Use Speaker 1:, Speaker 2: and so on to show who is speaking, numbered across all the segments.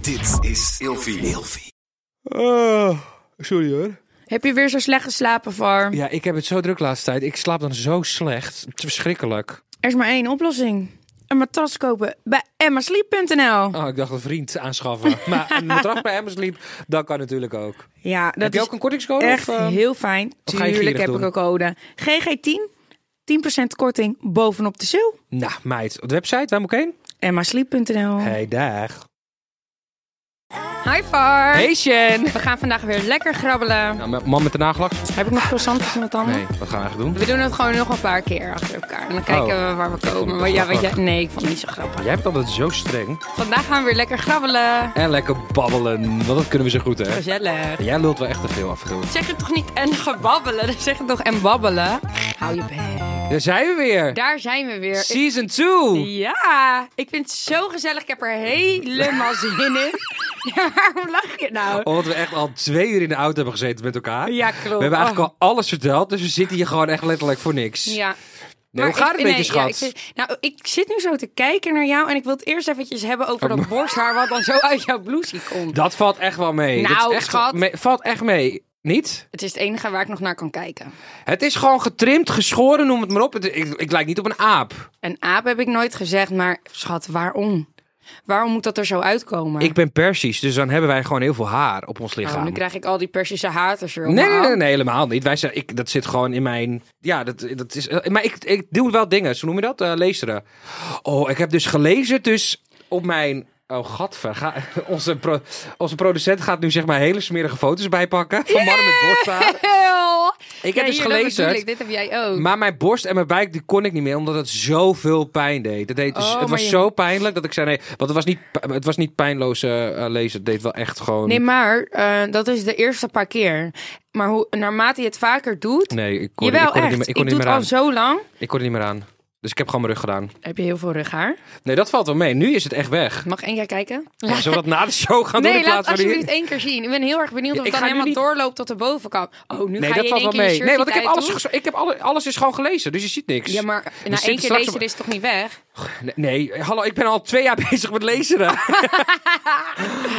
Speaker 1: Dit is Ilfie.
Speaker 2: Ah, sorry hoor.
Speaker 3: Heb je weer zo slecht geslapen, Farm?
Speaker 2: Ja, ik heb het zo druk de laatste tijd. Ik slaap dan zo slecht. Het is verschrikkelijk.
Speaker 3: Er is maar één oplossing. Een matras kopen bij emmasleep.nl.
Speaker 2: Oh, ik dacht een vriend aanschaffen. maar een matras bij Amazon liep, dat kan natuurlijk ook.
Speaker 3: Ja, dat
Speaker 2: heb je
Speaker 3: is
Speaker 2: ook een kortingscode?
Speaker 3: echt
Speaker 2: of, eh,
Speaker 3: heel fijn.
Speaker 2: ga je
Speaker 3: Tuurlijk
Speaker 2: gierig
Speaker 3: heb
Speaker 2: doen?
Speaker 3: ik een code. GG10, 10% korting bovenop de sale.
Speaker 2: Nou, meid. Op de website, waar moet ik heen?
Speaker 3: emmasleep.nl.
Speaker 2: Hey, dag.
Speaker 3: Hi, Farm.
Speaker 2: Hey, Sjen.
Speaker 3: We gaan vandaag weer lekker grabbelen.
Speaker 2: Nou, mijn man met de nagelak?
Speaker 3: Heb ik nog croissantjes in het handen?
Speaker 2: Nee, wat gaan we eigenlijk doen?
Speaker 3: We doen het gewoon nog een paar keer achter elkaar. En dan kijken
Speaker 2: Oh.
Speaker 3: we waar we
Speaker 2: vond
Speaker 3: komen.
Speaker 2: ik
Speaker 3: Maar ja, weet je,
Speaker 2: grappig.
Speaker 3: nee, ik vond het niet zo grappig.
Speaker 2: Jij hebt altijd zo streng.
Speaker 3: Vandaag gaan we weer lekker grabbelen.
Speaker 2: En lekker babbelen, want dat kunnen we zo goed, hè?
Speaker 3: Gezellig.
Speaker 2: Jij lult wel echt te veel af en toe.
Speaker 3: Zeg het toch niet en gebabbelen? Dan Zeg het toch en babbelen? Hou je bek.
Speaker 2: Daar zijn we weer.
Speaker 3: Daar zijn we weer.
Speaker 2: Season 2.
Speaker 3: Ja, ik vind het zo gezellig. Ik heb er helemaal zin in. Ja, waarom lach je nou?
Speaker 2: Omdat we echt al twee uur in de auto hebben gezeten met elkaar.
Speaker 3: Ja, klopt. Oh.
Speaker 2: We hebben eigenlijk al alles verteld, dus we zitten hier gewoon echt letterlijk voor niks.
Speaker 3: Ja.
Speaker 2: Nee, hoe
Speaker 3: Maar
Speaker 2: gaat
Speaker 3: ik-
Speaker 2: het met je,
Speaker 3: nee,
Speaker 2: schat?
Speaker 3: ja, ik zit- nou, ik zit nu zo te kijken naar jou en ik wil het eerst eventjes hebben over dat borsthaar wat dan zo uit jouw blouse komt.
Speaker 2: Oh, Dat valt echt wel mee.
Speaker 3: Nou,
Speaker 2: Dat is echt
Speaker 3: schat.
Speaker 2: me- valt echt mee. Niet?
Speaker 3: Het is het enige waar ik nog naar kan kijken.
Speaker 2: Het is gewoon getrimd, geschoren, noem het maar op. Het- ik, ik lijk niet op een aap.
Speaker 3: Een aap heb ik nooit gezegd, maar schat, waarom? Waarom moet dat er zo uitkomen?
Speaker 2: Ik ben Persisch, dus dan hebben wij gewoon heel veel haar op ons
Speaker 3: Ah. Oh,
Speaker 2: lichaam.
Speaker 3: nu krijg ik al die Persische haters weer
Speaker 2: Nee, nee,
Speaker 3: allemaal.
Speaker 2: nee, nee, helemaal niet. Wij zijn, ik, dat zit gewoon in mijn. Ja, dat, dat is. eh, Maar ik, ik doe wel dingen. Zo noem je dat? Eh, leesteren. Oh, ik heb dus gelezen. Dus op mijn. Oh, gadver. Ga, onze, pro- onze producent gaat nu zeg maar hele smerige foto's bijpakken. Van mannen met borsthaar.
Speaker 3: Heel.
Speaker 2: Ik heb
Speaker 3: Ja,
Speaker 2: dus
Speaker 3: hier, dat bedoel
Speaker 2: gelezen.
Speaker 3: ik. Dit heb jij ook.
Speaker 2: Maar mijn borst en mijn buik, die kon ik niet meer, omdat het zoveel pijn deed. Het, deed dus-
Speaker 3: Oh,
Speaker 2: het
Speaker 3: maar
Speaker 2: was
Speaker 3: je-
Speaker 2: zo pijnlijk dat ik zei nee. Want het was niet, pi- het was niet pijnloos eh, eh, lezen. Het deed wel echt gewoon...
Speaker 3: Nee, maar eh, dat is de eerste paar keer. Maar hoe, naarmate je het vaker doet...
Speaker 2: nee, ik kon,
Speaker 3: jawel,
Speaker 2: ik kon
Speaker 3: echt.
Speaker 2: er niet meer, ik kon er
Speaker 3: doe
Speaker 2: niet
Speaker 3: het
Speaker 2: meer
Speaker 3: al
Speaker 2: aan.
Speaker 3: zo lang.
Speaker 2: Ik kon er niet meer aan. Dus ik heb gewoon mijn rug gedaan.
Speaker 3: Heb je heel veel rughaar?
Speaker 2: Nee, dat valt wel mee. Nu is het echt weg.
Speaker 3: Mag één keer kijken?
Speaker 2: Ja, zullen we dat na de show gaan doen
Speaker 3: nee,
Speaker 2: in plaats van
Speaker 3: laat
Speaker 2: hier?
Speaker 3: alsjeblieft één keer zien. Ik ben heel erg benieuwd
Speaker 2: Ja,
Speaker 3: of
Speaker 2: ik
Speaker 3: het dan
Speaker 2: ga nu
Speaker 3: helemaal
Speaker 2: niet-
Speaker 3: doorloopt tot de bovenkant. Oh, nu
Speaker 2: Nee,
Speaker 3: ga je
Speaker 2: dat
Speaker 3: in
Speaker 2: valt
Speaker 3: één
Speaker 2: wel
Speaker 3: keer je
Speaker 2: mee.
Speaker 3: shirtje
Speaker 2: Nee, want ik heb, alles,
Speaker 3: tijd doen.
Speaker 2: ges- ik heb alle, alles is gewoon gelezen, dus je ziet niks.
Speaker 3: Ja, maar na
Speaker 2: zitten
Speaker 3: één keer
Speaker 2: straks
Speaker 3: lezen
Speaker 2: op-
Speaker 3: is het toch niet weg?
Speaker 2: Nee, nee, hallo, ik ben al twee jaar bezig met lezen.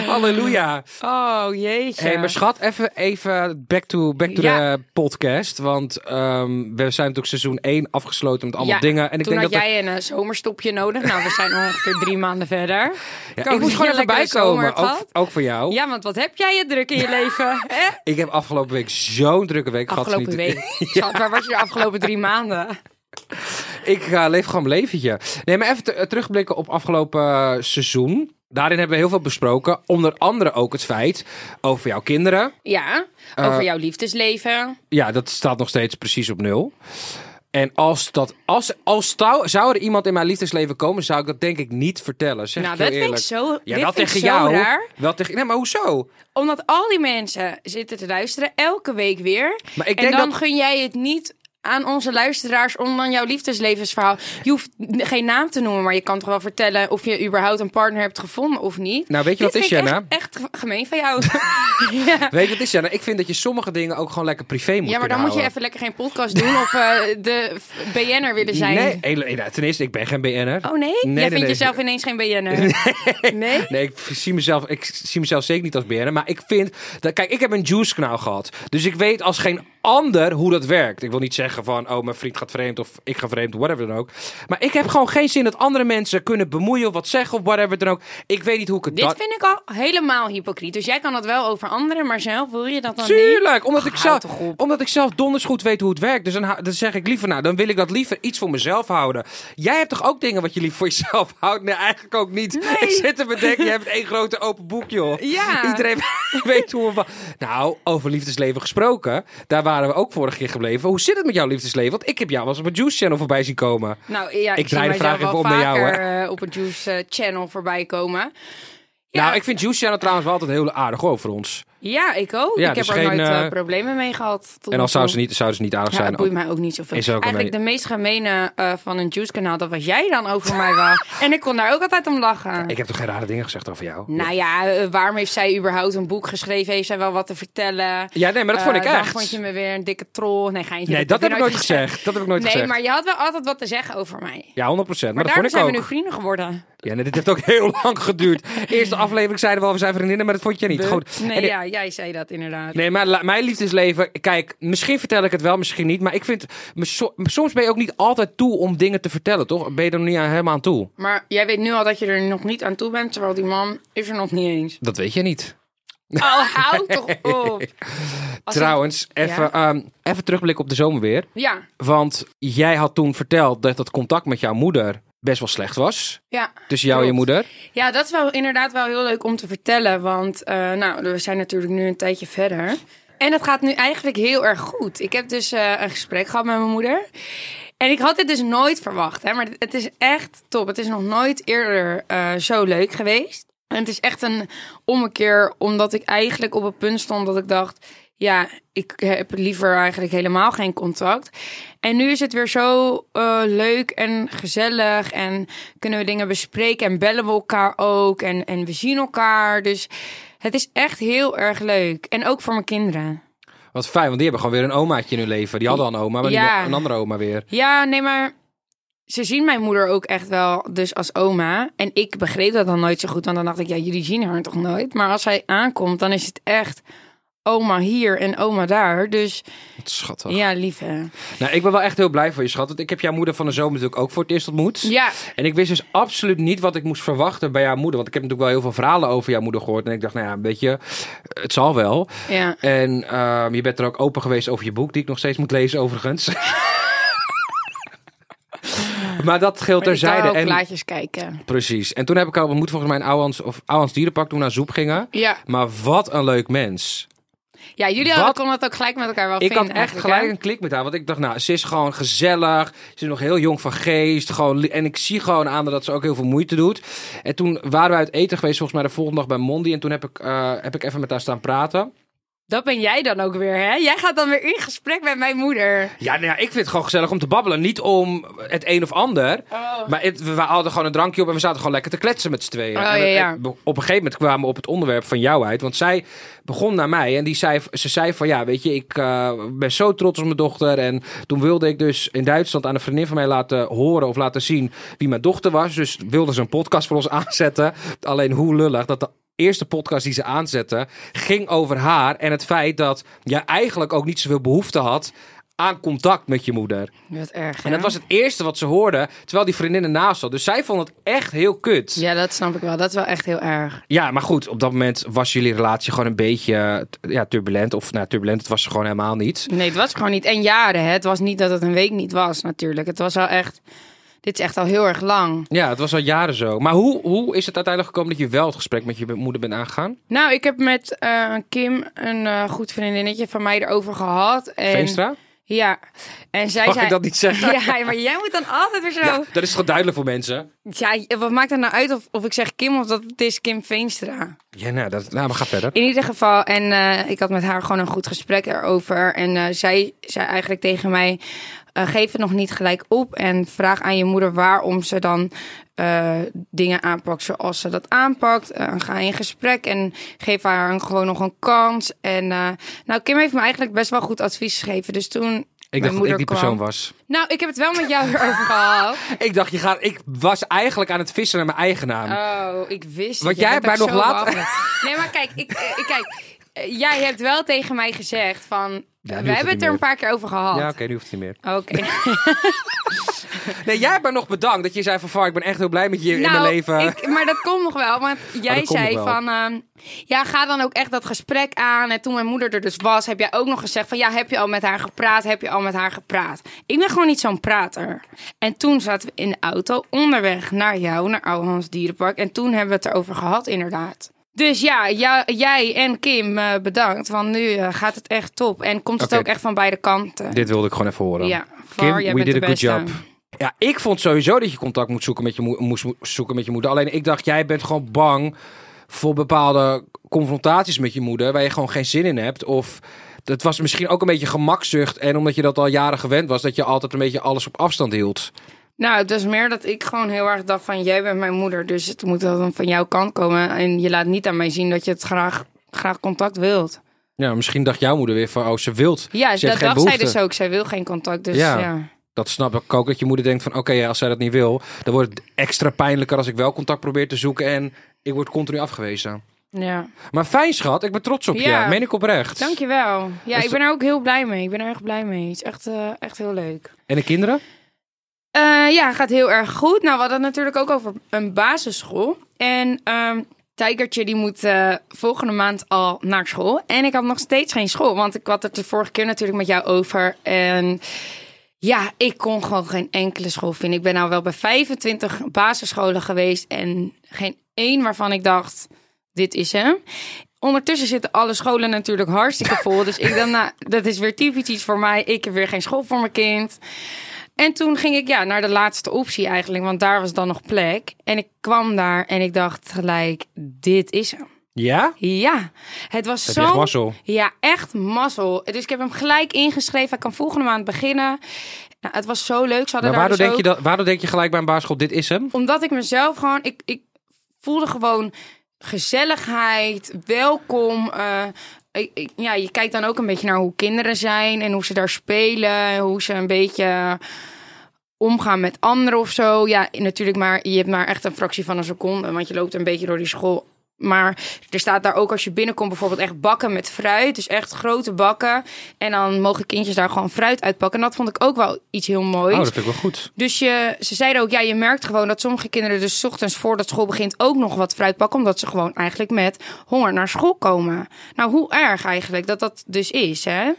Speaker 2: Halleluja.
Speaker 3: Oh, jeetje.
Speaker 2: Hé, hey, maar schat, even, even back to, back to
Speaker 3: Ja.
Speaker 2: the podcast. Want ehm, we zijn natuurlijk seizoen 1 afgesloten met allemaal
Speaker 3: Ja,
Speaker 2: dingen. En ik
Speaker 3: toen
Speaker 2: denk dat
Speaker 3: had
Speaker 2: er-
Speaker 3: jij een eh, zomerstopje nodig. Nou, we zijn ongeveer drie maanden verder.
Speaker 2: Ja, ik
Speaker 3: hoop
Speaker 2: moest
Speaker 3: dat je
Speaker 2: gewoon even
Speaker 3: een lekkere zomer
Speaker 2: bijkomen.
Speaker 3: hebt
Speaker 2: Ook,
Speaker 3: gehad.
Speaker 2: ook voor jou.
Speaker 3: Ja, want wat heb jij het druk in je leven? hè?
Speaker 2: Ik heb afgelopen week zo'n drukke week gehad. dus
Speaker 3: Afgelopen
Speaker 2: Niet-
Speaker 3: week. Schat, waar was je de afgelopen drie maanden?
Speaker 2: Ik eh, leef gewoon mijn leventje. Nee, maar even te- eh, terugblikken op afgelopen eh, seizoen. Daarin hebben we heel veel besproken. Onder andere ook het feit over jouw kinderen.
Speaker 3: Ja, over jouw liefdesleven.
Speaker 2: Ja, dat staat nog steeds precies op nul. En als, dat, als, als zou, zou er iemand in mijn liefdesleven komen, zou ik dat denk ik niet vertellen. Zeg
Speaker 3: Nou,
Speaker 2: ik heel
Speaker 3: dat vind ik
Speaker 2: eerlijk.
Speaker 3: zo- dit
Speaker 2: ja,
Speaker 3: vind
Speaker 2: wel
Speaker 3: ik
Speaker 2: tegen
Speaker 3: zo
Speaker 2: jou.
Speaker 3: raar.
Speaker 2: Wel tegen, nee, maar hoezo?
Speaker 3: Omdat al die mensen zitten te luisteren, elke week weer.
Speaker 2: Maar ik
Speaker 3: en
Speaker 2: denk
Speaker 3: dan
Speaker 2: dat-
Speaker 3: gun jij het niet aan onze luisteraars om dan jouw liefdeslevensverhaal... Je hoeft n- geen naam te noemen, maar je kan toch wel vertellen... of je überhaupt een partner hebt gevonden of niet.
Speaker 2: Nou, weet je
Speaker 3: Dit
Speaker 2: wat is,
Speaker 3: vind ik
Speaker 2: Jenna?
Speaker 3: Echt, echt gemeen van jou. ja.
Speaker 2: Weet je wat het is, Jenna? Ik vind dat je sommige dingen ook gewoon lekker privé moet
Speaker 3: Ja, maar dan
Speaker 2: kunnen
Speaker 3: moet je
Speaker 2: houden.
Speaker 3: even lekker geen podcast doen of eh, de f- BN'er willen zijn.
Speaker 2: Nee, hele- ja, ten eerste, ik ben geen BN'er.
Speaker 3: Oh nee? Jij
Speaker 2: nee,
Speaker 3: vindt
Speaker 2: nee.
Speaker 3: jezelf ineens geen BN'er? Nee.
Speaker 2: Nee, ik zie mezelf, ik zie mezelf zeker niet als BN'er. Maar ik vind... Dat, kijk, ik heb een juice-kanaal gehad. Dus ik weet als geen ander hoe dat werkt. Ik wil niet zeggen van... Oh, mijn vriend gaat vreemd of ik ga vreemd, whatever dan ook. Maar ik heb gewoon geen zin dat andere mensen kunnen bemoeien... of wat zeggen of whatever dan ook. Ik weet niet hoe ik het...
Speaker 3: Dit
Speaker 2: dan-
Speaker 3: vind ik al helemaal hypocriet. Dus jij kan dat wel over anderen, maar zelf wil je dat dan niet?
Speaker 2: Tuurlijk, omdat ik,
Speaker 3: Ach,
Speaker 2: zelf,
Speaker 3: houd toch op.
Speaker 2: omdat ik zelf donders goed weet hoe het werkt. Dus dan, ha- dan zeg ik liever, nou, dan wil ik dat liever iets voor mezelf houden. Jij hebt toch ook dingen wat je liever voor jezelf houdt? Nee, eigenlijk ook niet. Ik zit te bedenken, je hebt één grote open boek, joh.
Speaker 3: Ja.
Speaker 2: Iedereen weet hoe... we wa- Nou, over liefdesleven gesproken, daar waren we ook vorige keer gebleven. Hoe zit het met jouw liefdesleven? Want ik heb jou wel eens op mijn Juice Channel voorbij zien komen.
Speaker 3: Nou ja, ik,
Speaker 2: Ik
Speaker 3: zie
Speaker 2: draai de
Speaker 3: mijzelf
Speaker 2: vraag
Speaker 3: wel
Speaker 2: even om naar jou,
Speaker 3: vaker eh, op het Juice eh, Channel voorbij komen. Ja,
Speaker 2: Nou, ik vind Juice Channel trouwens wel altijd heel aardig hoor, voor ons.
Speaker 3: Ja, ik ook.
Speaker 2: Ja,
Speaker 3: ik heb
Speaker 2: dus
Speaker 3: er
Speaker 2: geen,
Speaker 3: nooit
Speaker 2: eh,
Speaker 3: eh, problemen mee gehad. tot
Speaker 2: En
Speaker 3: nu
Speaker 2: al zou
Speaker 3: toe.
Speaker 2: ze niet, zou ze niet aardig
Speaker 3: Ja,
Speaker 2: zijn. Oh,
Speaker 3: dat boeit mij ook niet zoveel.
Speaker 2: Is ook een
Speaker 3: Eigenlijk de meest gemene eh, van een juice-kanaal, dat was jij dan over mij wel. en ik kon daar ook altijd om lachen.
Speaker 2: Ik heb toch geen rare dingen gezegd over jou?
Speaker 3: Nou ja, eh, waarom heeft zij überhaupt een boek geschreven? Heeft zij wel wat te vertellen?
Speaker 2: Ja, nee, maar dat vond
Speaker 3: Eh,
Speaker 2: ik echt.
Speaker 3: Dan vond je me weer een dikke troll. Nee, geintje.
Speaker 2: nee, dat heb ik nooit
Speaker 3: je
Speaker 2: gezegd. Dat heb ik nooit
Speaker 3: nee,
Speaker 2: gezegd.
Speaker 3: maar je had wel altijd wat te zeggen over mij. Maar,
Speaker 2: Ja, 100%. Maar, dat vond
Speaker 3: daarom
Speaker 2: ik
Speaker 3: zijn
Speaker 2: ook.
Speaker 3: we nu vrienden geworden.
Speaker 2: Ja, nee, dit heeft ook heel lang geduurd. Eerste aflevering zeiden we al, we zijn vriendinnen, maar dat vond je niet. Goed.
Speaker 3: Nee,
Speaker 2: En-
Speaker 3: ja, jij zei dat inderdaad.
Speaker 2: Nee, maar la- mijn liefdesleven, kijk, misschien vertel ik het wel, misschien niet. Maar ik vind, me so- soms ben je ook niet altijd toe om dingen te vertellen, toch? Ben je er nog niet aan, helemaal aan toe?
Speaker 3: Maar jij weet nu al dat je er nog niet aan toe bent, terwijl die man is er nog niet eens.
Speaker 2: Dat weet je niet.
Speaker 3: Oh, hou toch op. Als ik-
Speaker 2: Trouwens, even, ehm even terugblikken op de zomer weer.
Speaker 3: Ja,
Speaker 2: Want jij had toen verteld dat het contact met jouw moeder best wel slecht was.
Speaker 3: ja.
Speaker 2: Tussen jou en je
Speaker 3: Klopt.
Speaker 2: moeder.
Speaker 3: Ja, dat is wel inderdaad wel heel leuk om te vertellen. Want eh, nou, we zijn natuurlijk nu een tijdje verder. En dat gaat nu eigenlijk heel erg goed. Ik heb dus eh, een gesprek gehad met mijn moeder. En ik had dit dus nooit verwacht. Hè, maar het- het is echt top. Het is nog nooit eerder eh, zo leuk geweest. En het is echt een ommekeer, omdat ik eigenlijk op het punt stond dat ik dacht... Ja, ik heb liever eigenlijk helemaal geen contact. En nu is het weer zo eh, leuk en gezellig. En kunnen we dingen bespreken en bellen we elkaar ook. En, en we zien elkaar. Dus het is echt heel erg leuk. En ook voor mijn kinderen.
Speaker 2: Wat fijn, want die hebben gewoon weer een omaatje in hun leven. Die hadden al een oma, maar nu
Speaker 3: Ja.
Speaker 2: een andere oma weer.
Speaker 3: Ja, nee, maar ze zien mijn moeder ook echt wel dus als oma. En ik begreep dat dan nooit zo goed, want dan dacht ik, ja, jullie zien haar toch nooit? Maar als zij aankomt, dan is het echt oma hier en oma daar. Dus
Speaker 2: Wat schattig.
Speaker 3: ja, lieve.
Speaker 2: Nou, ik ben wel echt heel blij voor je, schat. Want ik heb jouw moeder van de zomer natuurlijk ook voor het eerst ontmoet.
Speaker 3: Ja,
Speaker 2: En ik wist dus absoluut niet wat ik moest verwachten bij jouw moeder. Want ik heb natuurlijk wel heel veel verhalen over jouw moeder gehoord. En ik dacht, nou ja, weet je, het zal wel.
Speaker 3: ja.
Speaker 2: En ehm, je bent er ook open geweest over je boek, die ik nog steeds moet lezen overigens. maar dat geldt
Speaker 3: Maar ik kan
Speaker 2: terzijde.
Speaker 3: ook
Speaker 2: En,
Speaker 3: plaatjes kijken.
Speaker 2: precies. En toen heb ik haar ontmoet volgens mij in Ouwans, of Ouwans Dierenpark toen we naar Zoep gingen.
Speaker 3: Ja,
Speaker 2: Maar wat een leuk mens.
Speaker 3: ja jullie
Speaker 2: Wat?
Speaker 3: hadden konden het ook gelijk met elkaar wel
Speaker 2: Ik
Speaker 3: vinden.
Speaker 2: had echt
Speaker 3: nou eigenlijk, hè?
Speaker 2: gelijk een klik met haar. Want ik dacht, nou, ze is gewoon gezellig. Ze is nog heel jong van geest. Gewoon, li- en ik zie gewoon aan haar dat ze ook heel veel moeite doet. En toen waren we uit eten geweest, volgens mij de volgende dag bij Mondi. En toen heb ik, eh, heb ik even met haar staan praten.
Speaker 3: Dat ben jij dan ook weer, hè? Jij gaat dan weer in gesprek met mijn moeder.
Speaker 2: Ja, nou ja, ik vind het gewoon gezellig om te babbelen. Niet om het een of ander. Maar het- we hadden gewoon een drankje op en we zaten gewoon lekker te kletsen met z'n tweeën.
Speaker 3: Oh,
Speaker 2: En we-
Speaker 3: ja, ja.
Speaker 2: en Op een gegeven moment kwamen we op het onderwerp van jou uit. Want zij begon naar mij en die zei, ze zei van ja, weet je, ik eh, ben zo trots op mijn dochter. En toen wilde ik dus in Duitsland aan een vriendin van mij laten horen of laten zien wie mijn dochter was. Dus wilde ze een podcast voor ons aanzetten. Alleen hoe lullig dat de eerste podcast die ze aanzette ging over haar. En het feit dat jij eigenlijk ook niet zoveel behoefte had aan contact met je moeder.
Speaker 3: Wat erg,
Speaker 2: En dat was het eerste wat ze hoorde, terwijl die vriendin ernaast zat. Dus zij vond het echt heel kut. Ja,
Speaker 3: Ja, dat snap ik wel. Dat is wel echt heel erg.
Speaker 2: maar goed, op dat moment was jullie relatie gewoon een beetje eh, t- ja, turbulent. Of nou, turbulent, het was ze gewoon helemaal niet.
Speaker 3: Nee, het was gewoon niet. En jaren, hè. Het was niet dat het een week niet was, natuurlijk. Het was al echt... Dit is echt al heel erg lang.
Speaker 2: Ja, het was al jaren zo. Maar hoe, hoe is het uiteindelijk gekomen dat je wel het gesprek met je be- moeder bent aangegaan?
Speaker 3: Nou, ik heb met eh, Kim, een eh, goed vriendinnetje van mij, erover gehad. En,
Speaker 2: Veenstra?
Speaker 3: Ja. En zij
Speaker 2: Mag
Speaker 3: zei...
Speaker 2: ik dat niet zeggen?
Speaker 3: Ehm, Ja, maar jij moet dan altijd weer zo...
Speaker 2: Ja, dat is toch duidelijk voor mensen?
Speaker 3: Ja, wat maakt het nou uit of, of ik zeg Kim of dat het is Kim Veenstra?
Speaker 2: Ja, nou, dat, nou we gaan verder.
Speaker 3: In ieder geval, en eh, ik had met haar gewoon een goed gesprek erover. En eh, zij zei eigenlijk tegen mij: eh, geef het nog niet gelijk op. En vraag aan je moeder waarom ze dan eh, dingen aanpakt zoals ze dat aanpakt. Eh, ga in gesprek en geef haar een- gewoon nog een kans. En eh, nou, Kim heeft me eigenlijk best wel goed advies gegeven. Dus toen.
Speaker 2: Ik dacht dat ik die persoon was.
Speaker 3: Nou, ik heb het wel met jou erover gehad.
Speaker 2: Ik dacht, je gaat, ik was eigenlijk aan het vissen naar mijn eigen naam.
Speaker 3: Oh, ik wist
Speaker 2: Want
Speaker 3: het.
Speaker 2: jij
Speaker 3: bent
Speaker 2: hebt
Speaker 3: ook
Speaker 2: mij nog
Speaker 3: zo
Speaker 2: laat-
Speaker 3: behandeld. Nee, maar kijk, ik, eh, ik- kijk eh, jij hebt wel tegen mij gezegd van...
Speaker 2: nu hoeft
Speaker 3: we
Speaker 2: het
Speaker 3: hebben
Speaker 2: niet
Speaker 3: het er een
Speaker 2: meer.
Speaker 3: paar keer over gehad.
Speaker 2: ja, oké, nu hoeft het niet meer.
Speaker 3: Oké.
Speaker 2: Nee, jij hebt me nog bedankt dat je zei van... "Var, ik ben echt heel blij met je in mijn
Speaker 3: Nou,
Speaker 2: leven. Oh,
Speaker 3: ik- maar dat komt nog wel. Want jij
Speaker 2: komt
Speaker 3: zei
Speaker 2: nog wel.
Speaker 3: van... ehm, ja, ga dan ook echt dat gesprek aan. En toen mijn moeder er dus was, heb jij ook nog gezegd van... Ja, heb je al met haar gepraat? Heb je al met haar gepraat? Ik ben gewoon niet zo'n prater. En toen zaten we in de auto onderweg naar jou, naar Ouwehans Dierenpark. En toen hebben we het erover gehad, inderdaad. Dus ja, ja- jij en Kim eh, bedankt. Want nu eh, gaat het echt top. En komt het
Speaker 2: Oké.
Speaker 3: ook echt van beide kanten.
Speaker 2: Dit wilde ik gewoon even horen.
Speaker 3: Ja,
Speaker 2: Kim,
Speaker 3: Var, jij
Speaker 2: we did
Speaker 3: bent
Speaker 2: a
Speaker 3: de
Speaker 2: good
Speaker 3: beste.
Speaker 2: job. Ja, ik vond sowieso dat je contact moet zoeken met je, moe- moest mo- zoeken met je moeder. Alleen ik dacht, jij bent gewoon bang voor bepaalde confrontaties met je moeder waar je gewoon geen zin in hebt. Of dat was misschien ook een beetje gemakzucht. En omdat je dat al jaren gewend was, dat je altijd een beetje alles op afstand hield.
Speaker 3: Nou, het was meer dat ik gewoon heel erg dacht van... jij bent mijn moeder, dus het moet dan van jouw kant komen. En je laat niet aan mij zien dat je het graag, graag contact wilt.
Speaker 2: Ja, misschien dacht jouw moeder weer van, oh, ze wilt. Ze
Speaker 3: Ja, dat
Speaker 2: heeft geen
Speaker 3: dacht zij
Speaker 2: behoefte.
Speaker 3: dus ook. Zij wil geen contact, dus
Speaker 2: Ja.
Speaker 3: ja.
Speaker 2: Dat snap ik ook. Dat je moeder denkt van, oké, ja, als zij dat niet wil, dan wordt het extra pijnlijker als ik wel contact probeer te zoeken en ik word continu afgewezen.
Speaker 3: ja.
Speaker 2: Maar fijn, schat. Ik ben trots op
Speaker 3: Ja.
Speaker 2: je. Meen ik oprecht.
Speaker 3: Dankjewel. Ja,
Speaker 2: Dus
Speaker 3: ik ben er ook heel blij mee. Ik ben er erg blij mee. Het is echt, eh, echt heel leuk.
Speaker 2: En de kinderen?
Speaker 3: Eh, ja, gaat heel erg goed. Nou, we hadden het natuurlijk ook over een basisschool. En ehm Tijgertje die moet eh, volgende maand al naar school. En ik had nog steeds geen school, want ik had het de vorige keer natuurlijk met jou over. En ja, ik kon gewoon geen enkele school vinden. Ik ben nou wel bij 25 basisscholen geweest en geen één waarvan ik dacht, dit is hem. Ondertussen zitten alle scholen natuurlijk hartstikke vol. Dus ik dacht, nou, dat is weer typisch iets voor mij. Ik heb weer geen school voor mijn kind. En toen ging ik ja, naar de laatste optie eigenlijk, want daar was dan nog plek. En ik kwam daar en ik dacht gelijk, dit is hem.
Speaker 2: Ja?
Speaker 3: Ja, het was
Speaker 2: Heb je
Speaker 3: zo...
Speaker 2: echt mazzel.
Speaker 3: Ja, echt mazzel. Dus ik heb hem gelijk ingeschreven. Hij kan volgende maand beginnen. Nou, het was zo leuk. Ze hadden
Speaker 2: Maar
Speaker 3: daar
Speaker 2: waardoor
Speaker 3: dus
Speaker 2: denk, je
Speaker 3: ook-
Speaker 2: dat, waardoor denk je gelijk bij een basisschool, dit is hem?
Speaker 3: Omdat ik mezelf gewoon... Ik, ik voelde gewoon gezelligheid, welkom. eh, ik- ik- ja, je kijkt dan ook een beetje naar hoe kinderen zijn en hoe ze daar spelen. Hoe ze een beetje omgaan met anderen of zo. Ja, natuurlijk, maar je hebt maar echt een fractie van een seconde. Want je loopt een beetje door die school. Maar er staat daar ook als je binnenkomt bijvoorbeeld echt bakken met fruit. Dus echt grote bakken. En dan mogen kindjes daar gewoon fruit uitpakken. En dat vond ik ook wel iets heel moois.
Speaker 2: Oh, dat vind ik wel goed.
Speaker 3: Dus je, ze zeiden ook, ja, je merkt gewoon dat sommige kinderen dus 's ochtends voordat school begint ook nog wat fruit pakken. Omdat ze gewoon eigenlijk met honger naar school komen. Nou, hoe erg eigenlijk dat dat dus is, hè?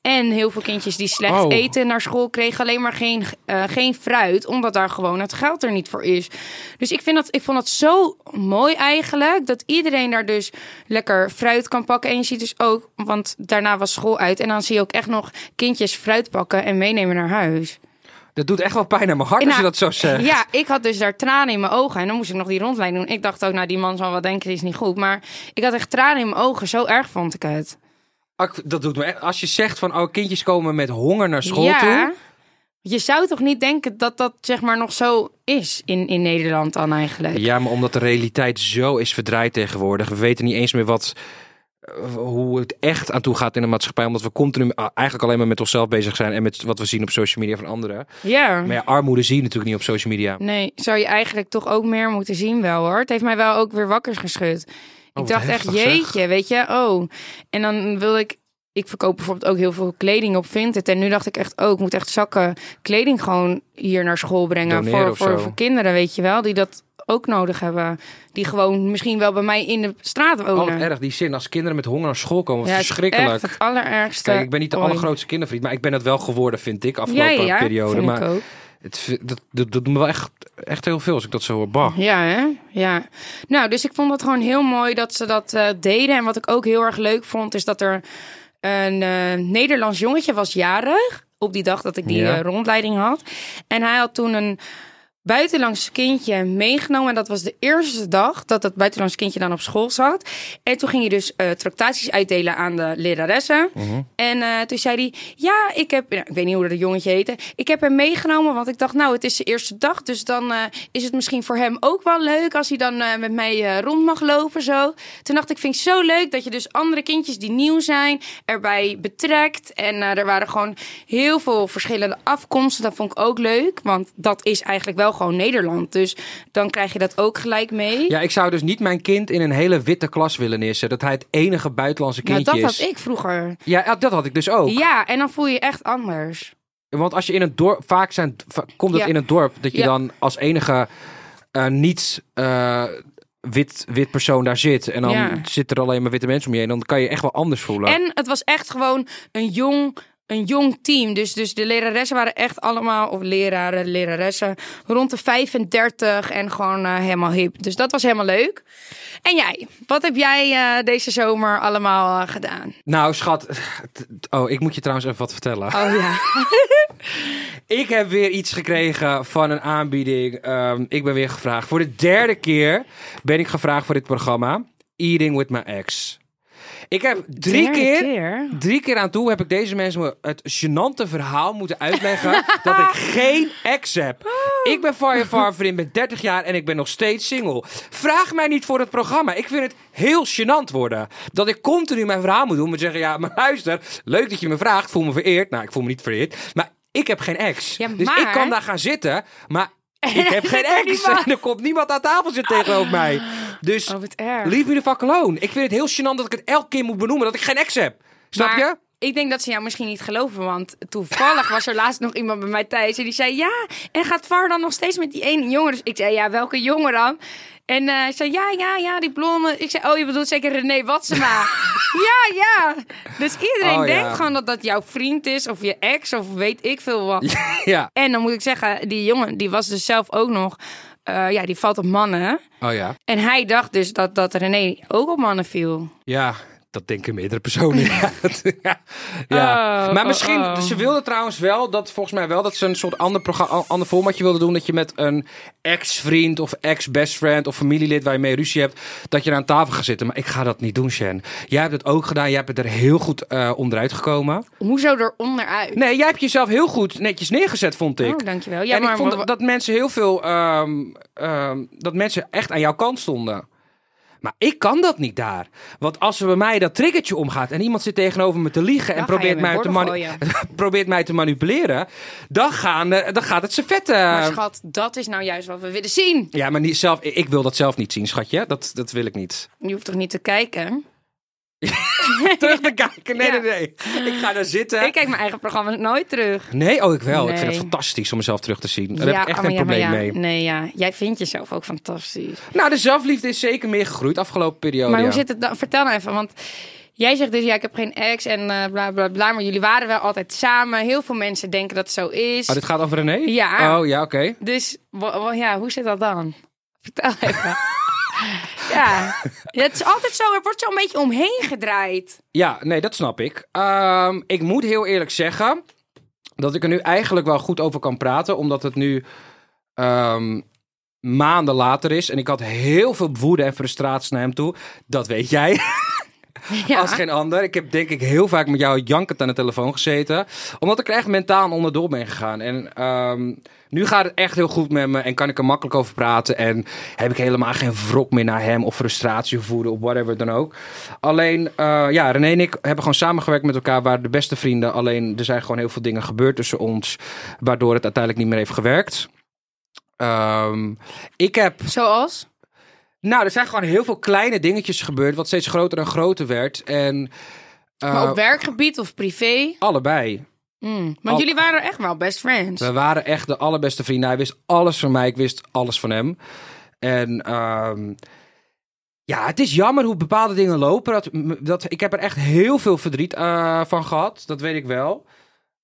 Speaker 3: En heel veel kindjes die slecht
Speaker 2: Oh.
Speaker 3: eten naar school kregen alleen maar geen, eh, geen fruit. Omdat daar gewoon het geld er niet voor is. Dus ik, vind dat, ik vond dat zo mooi eigenlijk. Dat iedereen daar dus lekker fruit kan pakken. En je ziet dus ook, want daarna was school uit. En dan zie je ook echt nog kindjes fruit pakken en meenemen naar huis.
Speaker 2: Dat doet echt wel pijn aan mijn hart als je
Speaker 3: Nou,
Speaker 2: dat zo zegt.
Speaker 3: Ja, ik had dus daar tranen in mijn ogen. En dan moest ik nog die rondlijn doen. Ik dacht ook, nou, die man zal wel denken, die is niet goed. Maar ik had echt tranen in mijn ogen. Zo erg vond ik het.
Speaker 2: Ak- Dat doet me echt... Als je zegt van, oh, kindjes komen met honger naar school
Speaker 3: ja.
Speaker 2: toe.
Speaker 3: Je zou toch niet denken dat dat zeg maar nog zo is in, in Nederland dan eigenlijk?
Speaker 2: Ja, maar omdat de realiteit zo is verdraaid tegenwoordig. We weten niet eens meer wat, eh, hoe het echt aan toe gaat in de maatschappij. Omdat we continu ah, eigenlijk alleen maar met onszelf bezig zijn. En met wat we zien op social media van anderen.
Speaker 3: Ja.
Speaker 2: Maar ja, armoede zie je natuurlijk niet op social media.
Speaker 3: Nee, zou je eigenlijk toch ook meer moeten zien wel hoor. Het heeft mij wel ook weer wakker geschud.
Speaker 2: Oh, wat
Speaker 3: ik dacht echt,
Speaker 2: heftig, zeg.
Speaker 3: jeetje, weet je, oh. En dan wil ik, ik verkoop bijvoorbeeld ook heel veel kleding op Vinted. En nu dacht ik echt, oh, ik moet echt zakken kleding gewoon hier naar school brengen.
Speaker 2: Doneren
Speaker 3: Voor,
Speaker 2: of zo.
Speaker 3: voor, voor kinderen, weet je wel, die dat ook nodig hebben. Die gewoon misschien wel bij mij in de straat
Speaker 2: Oh,
Speaker 3: wonen.
Speaker 2: wat erg die zin als kinderen met honger naar school komen.
Speaker 3: het is
Speaker 2: verschrikkelijk.
Speaker 3: echt het allerergste.
Speaker 2: Kijk, ik ben niet de
Speaker 3: ooit.
Speaker 2: allergrootste kindervriend, maar ik ben dat wel geworden, vind ik,
Speaker 3: ja,
Speaker 2: afgelopen
Speaker 3: ja, ja,
Speaker 2: periode.
Speaker 3: vind
Speaker 2: Maar
Speaker 3: ik ook.
Speaker 2: het, dat, dat, dat doet me wel echt, echt heel veel als ik dat zo hoor. Bah.
Speaker 3: Ja, hè? Ja. Nou, dus ik vond het gewoon heel mooi dat ze dat eh, deden. En wat ik ook heel erg leuk vond, is dat er een eh, Nederlands jongetje was jarig. Op die dag dat ik die
Speaker 2: Ja.
Speaker 3: eh, rondleiding had. En hij had toen een buitenlands kindje meegenomen. En dat was de eerste dag dat dat buitenlands kindje dan op school zat. En toen ging hij dus eh tractaties uitdelen aan de leraressen. En eh, toen zei hij, ja, ik heb... nou, ik weet niet hoe dat jongetje heette. Ik heb hem meegenomen, want ik dacht, nou, het is de eerste dag. Dus dan eh, is het misschien voor hem ook wel leuk... als hij dan eh, met mij eh, rond mag lopen, zo. Toen dacht ik, vind ik zo leuk dat je dus andere kindjes die nieuw zijn... erbij betrekt. En eh, er waren gewoon heel veel verschillende afkomsten. Dat vond ik ook leuk, want dat is eigenlijk wel gewoon Nederland. Dus dan krijg je dat ook gelijk mee.
Speaker 2: Ja, ik zou dus niet mijn kind in een hele witte klas willen neerzetten. Dat hij het enige buitenlandse
Speaker 3: nou,
Speaker 2: kindje
Speaker 3: dat
Speaker 2: is.
Speaker 3: had ik vroeger.
Speaker 2: Ja, dat had ik dus ook.
Speaker 3: Ja, en dan voel je je echt anders.
Speaker 2: Want als je in een dorp, vaak zijn, va- komt het
Speaker 3: Ja.
Speaker 2: in een dorp dat je
Speaker 3: Ja.
Speaker 2: dan als enige eh, niet eh, wit, wit persoon daar zit. En dan
Speaker 3: Ja.
Speaker 2: zitten er alleen maar witte mensen om je heen. Dan kan je echt wel anders voelen.
Speaker 3: En het was echt gewoon een jong, een jong team. Dus, dus de leraressen waren echt allemaal, of leraren, leraressen, rond de 35 en gewoon eh, helemaal hip. Dus dat was helemaal leuk. En jij, wat heb jij eh, deze zomer allemaal eh, gedaan?
Speaker 2: Nou, schat. t- t- Oh, ik moet je trouwens even wat vertellen.
Speaker 3: Oh ja.
Speaker 2: Ik heb weer iets gekregen van een aanbieding. Ehm, ik ben weer gevraagd. Voor de derde keer ben ik gevraagd voor dit programma. eating with my ex. Ik heb drie keer,
Speaker 3: keer?
Speaker 2: drie keer aan toe heb ik deze mensen het gênante verhaal moeten uitleggen dat ik geen ex heb. Ik ben Fire Far Vriend, ben 30 jaar en ik ben nog steeds single. Vraag mij niet voor het programma. Ik vind het heel gênant worden. Dat ik continu mijn verhaal moet doen. Moet zeggen, ja, maar luister, leuk dat je me vraagt. Voel me vereerd. Nou, ik voel me niet vereerd. Maar ik heb geen ex.
Speaker 3: Ja,
Speaker 2: Dus ik
Speaker 3: maar-
Speaker 2: kan daar gaan zitten. Maar ik heb geen ex.
Speaker 3: Niemand.
Speaker 2: En er komt niemand aan tafel zitten tegenover mij. Dus
Speaker 3: Oh, wat erg.
Speaker 2: Leave me the fuck alone. Ik vind het heel gênant dat ik het elke keer moet benoemen dat ik geen ex heb. Snap
Speaker 3: Maar
Speaker 2: je?
Speaker 3: Ik denk dat ze jou misschien niet geloven, want toevallig was er laatst nog iemand bij mij thuis en die zei ja. En gaat Var dan nog steeds met die ene jongen? Dus ik zei ja, welke jongen dan? En eh, ze zei ja, ja, ja, die blonde. Ik zei oh, je bedoelt zeker René Watsema. ja, ja. Dus iedereen
Speaker 2: Oh, ja.
Speaker 3: denkt gewoon dat dat jouw vriend is of je ex of weet ik veel wat.
Speaker 2: ja.
Speaker 3: En dan moet ik zeggen, die jongen die was dus zelf ook nog, eh, ja, die valt op mannen.
Speaker 2: Oh ja.
Speaker 3: En hij dacht dus dat, dat René ook op mannen viel.
Speaker 2: Ja, dat denken meerdere personen. ja. ja. Ja.
Speaker 3: Oh,
Speaker 2: maar
Speaker 3: oh,
Speaker 2: misschien,
Speaker 3: oh.
Speaker 2: ze wilde trouwens wel, dat volgens mij wel, dat ze een soort ander, programma, ander formatje wilde doen. Dat je met een ex-vriend of ex-bestfriend of familielid waar je mee ruzie hebt, dat je aan tafel gaat zitten. Maar ik ga dat niet doen, Shen. Jij hebt het ook gedaan. Jij bent er heel goed eh onderuit gekomen.
Speaker 3: Hoezo eronder uit?
Speaker 2: Nee, jij hebt jezelf heel goed netjes neergezet, vond ik.
Speaker 3: Oh, dankjewel. Ja,
Speaker 2: en
Speaker 3: maar
Speaker 2: ik vond
Speaker 3: wa-
Speaker 2: dat mensen heel veel... ehm, ehm, dat mensen echt aan jouw kant stonden. Maar ik kan dat niet daar. Want als er bij mij dat triggertje omgaat... en iemand zit tegenover me te liegen... en
Speaker 3: Dan ga je
Speaker 2: probeert
Speaker 3: met
Speaker 2: mij, te
Speaker 3: borden
Speaker 2: mani- probeert mij te manipuleren... dan, gaan, er- dan gaat het servetten.
Speaker 3: Maar schat, dat is nou juist wat we willen zien.
Speaker 2: ja, maar niet zelf, ik wil dat zelf niet zien, schatje. Dat, dat wil ik niet.
Speaker 3: Je hoeft toch niet te kijken?
Speaker 2: Terug te kijken. Nee,
Speaker 3: Ja.
Speaker 2: nee, nee. Ik ga daar zitten.
Speaker 3: Ik kijk mijn eigen programma's nooit terug.
Speaker 2: Nee, oh, ik wel. Ik vind
Speaker 3: Nee.
Speaker 2: het fantastisch om mezelf terug te zien. Daar heb ik echt
Speaker 3: maar
Speaker 2: geen
Speaker 3: ja, maar
Speaker 2: probleem
Speaker 3: ja.
Speaker 2: mee.
Speaker 3: Nee, ja. Jij vindt jezelf ook fantastisch.
Speaker 2: Nou, de zelfliefde is zeker meer gegroeid afgelopen periode.
Speaker 3: maar hoe
Speaker 2: ja.
Speaker 3: zit het dan? Vertel nou even, want jij zegt dus, ja, ik heb geen ex en eh, bla, bla, bla. Maar jullie waren wel altijd samen. Heel veel mensen denken dat het zo is.
Speaker 2: Oh, dit gaat over René?
Speaker 3: Ja.
Speaker 2: Oh, ja, oké.
Speaker 3: Dus, wa- wa- ja, hoe zit dat dan? Vertel even. ja. ja, het is altijd zo. Er wordt zo een beetje omheen gedraaid.
Speaker 2: Ja, nee, dat snap ik. Ehm, ik moet heel eerlijk zeggen dat ik er nu eigenlijk wel goed over kan praten, omdat het nu ehm, maanden later is. En ik had heel veel woede en frustratie naar hem toe. Dat weet jij.
Speaker 3: Ja.
Speaker 2: als geen ander. Ik heb denk ik heel vaak met jou jankend aan de telefoon gezeten. Omdat ik er echt mentaal onderdoor ben gegaan. En ehm, nu gaat het echt heel goed met me en kan ik er makkelijk over praten. En heb ik helemaal geen wrok meer naar hem of frustratie of woede of whatever dan ook. Alleen, eh, ja, René en ik hebben gewoon samengewerkt met elkaar. waren de beste vrienden. Alleen, er zijn gewoon heel veel dingen gebeurd tussen ons. Waardoor het uiteindelijk niet meer heeft gewerkt. Ehm, ik heb
Speaker 3: Zoals?
Speaker 2: nou, er zijn gewoon heel veel kleine dingetjes gebeurd, wat steeds groter en groter werd. En eh,
Speaker 3: maar op werkgebied of privé?
Speaker 2: allebei.
Speaker 3: Mm, Want
Speaker 2: Al-
Speaker 3: jullie waren echt wel best friends.
Speaker 2: We waren echt de allerbeste vrienden. Hij wist alles van mij, ik wist alles van hem. En ehm, ja, het is jammer hoe bepaalde dingen lopen. Dat, dat, ik heb er echt heel veel verdriet eh, van gehad, dat weet ik wel.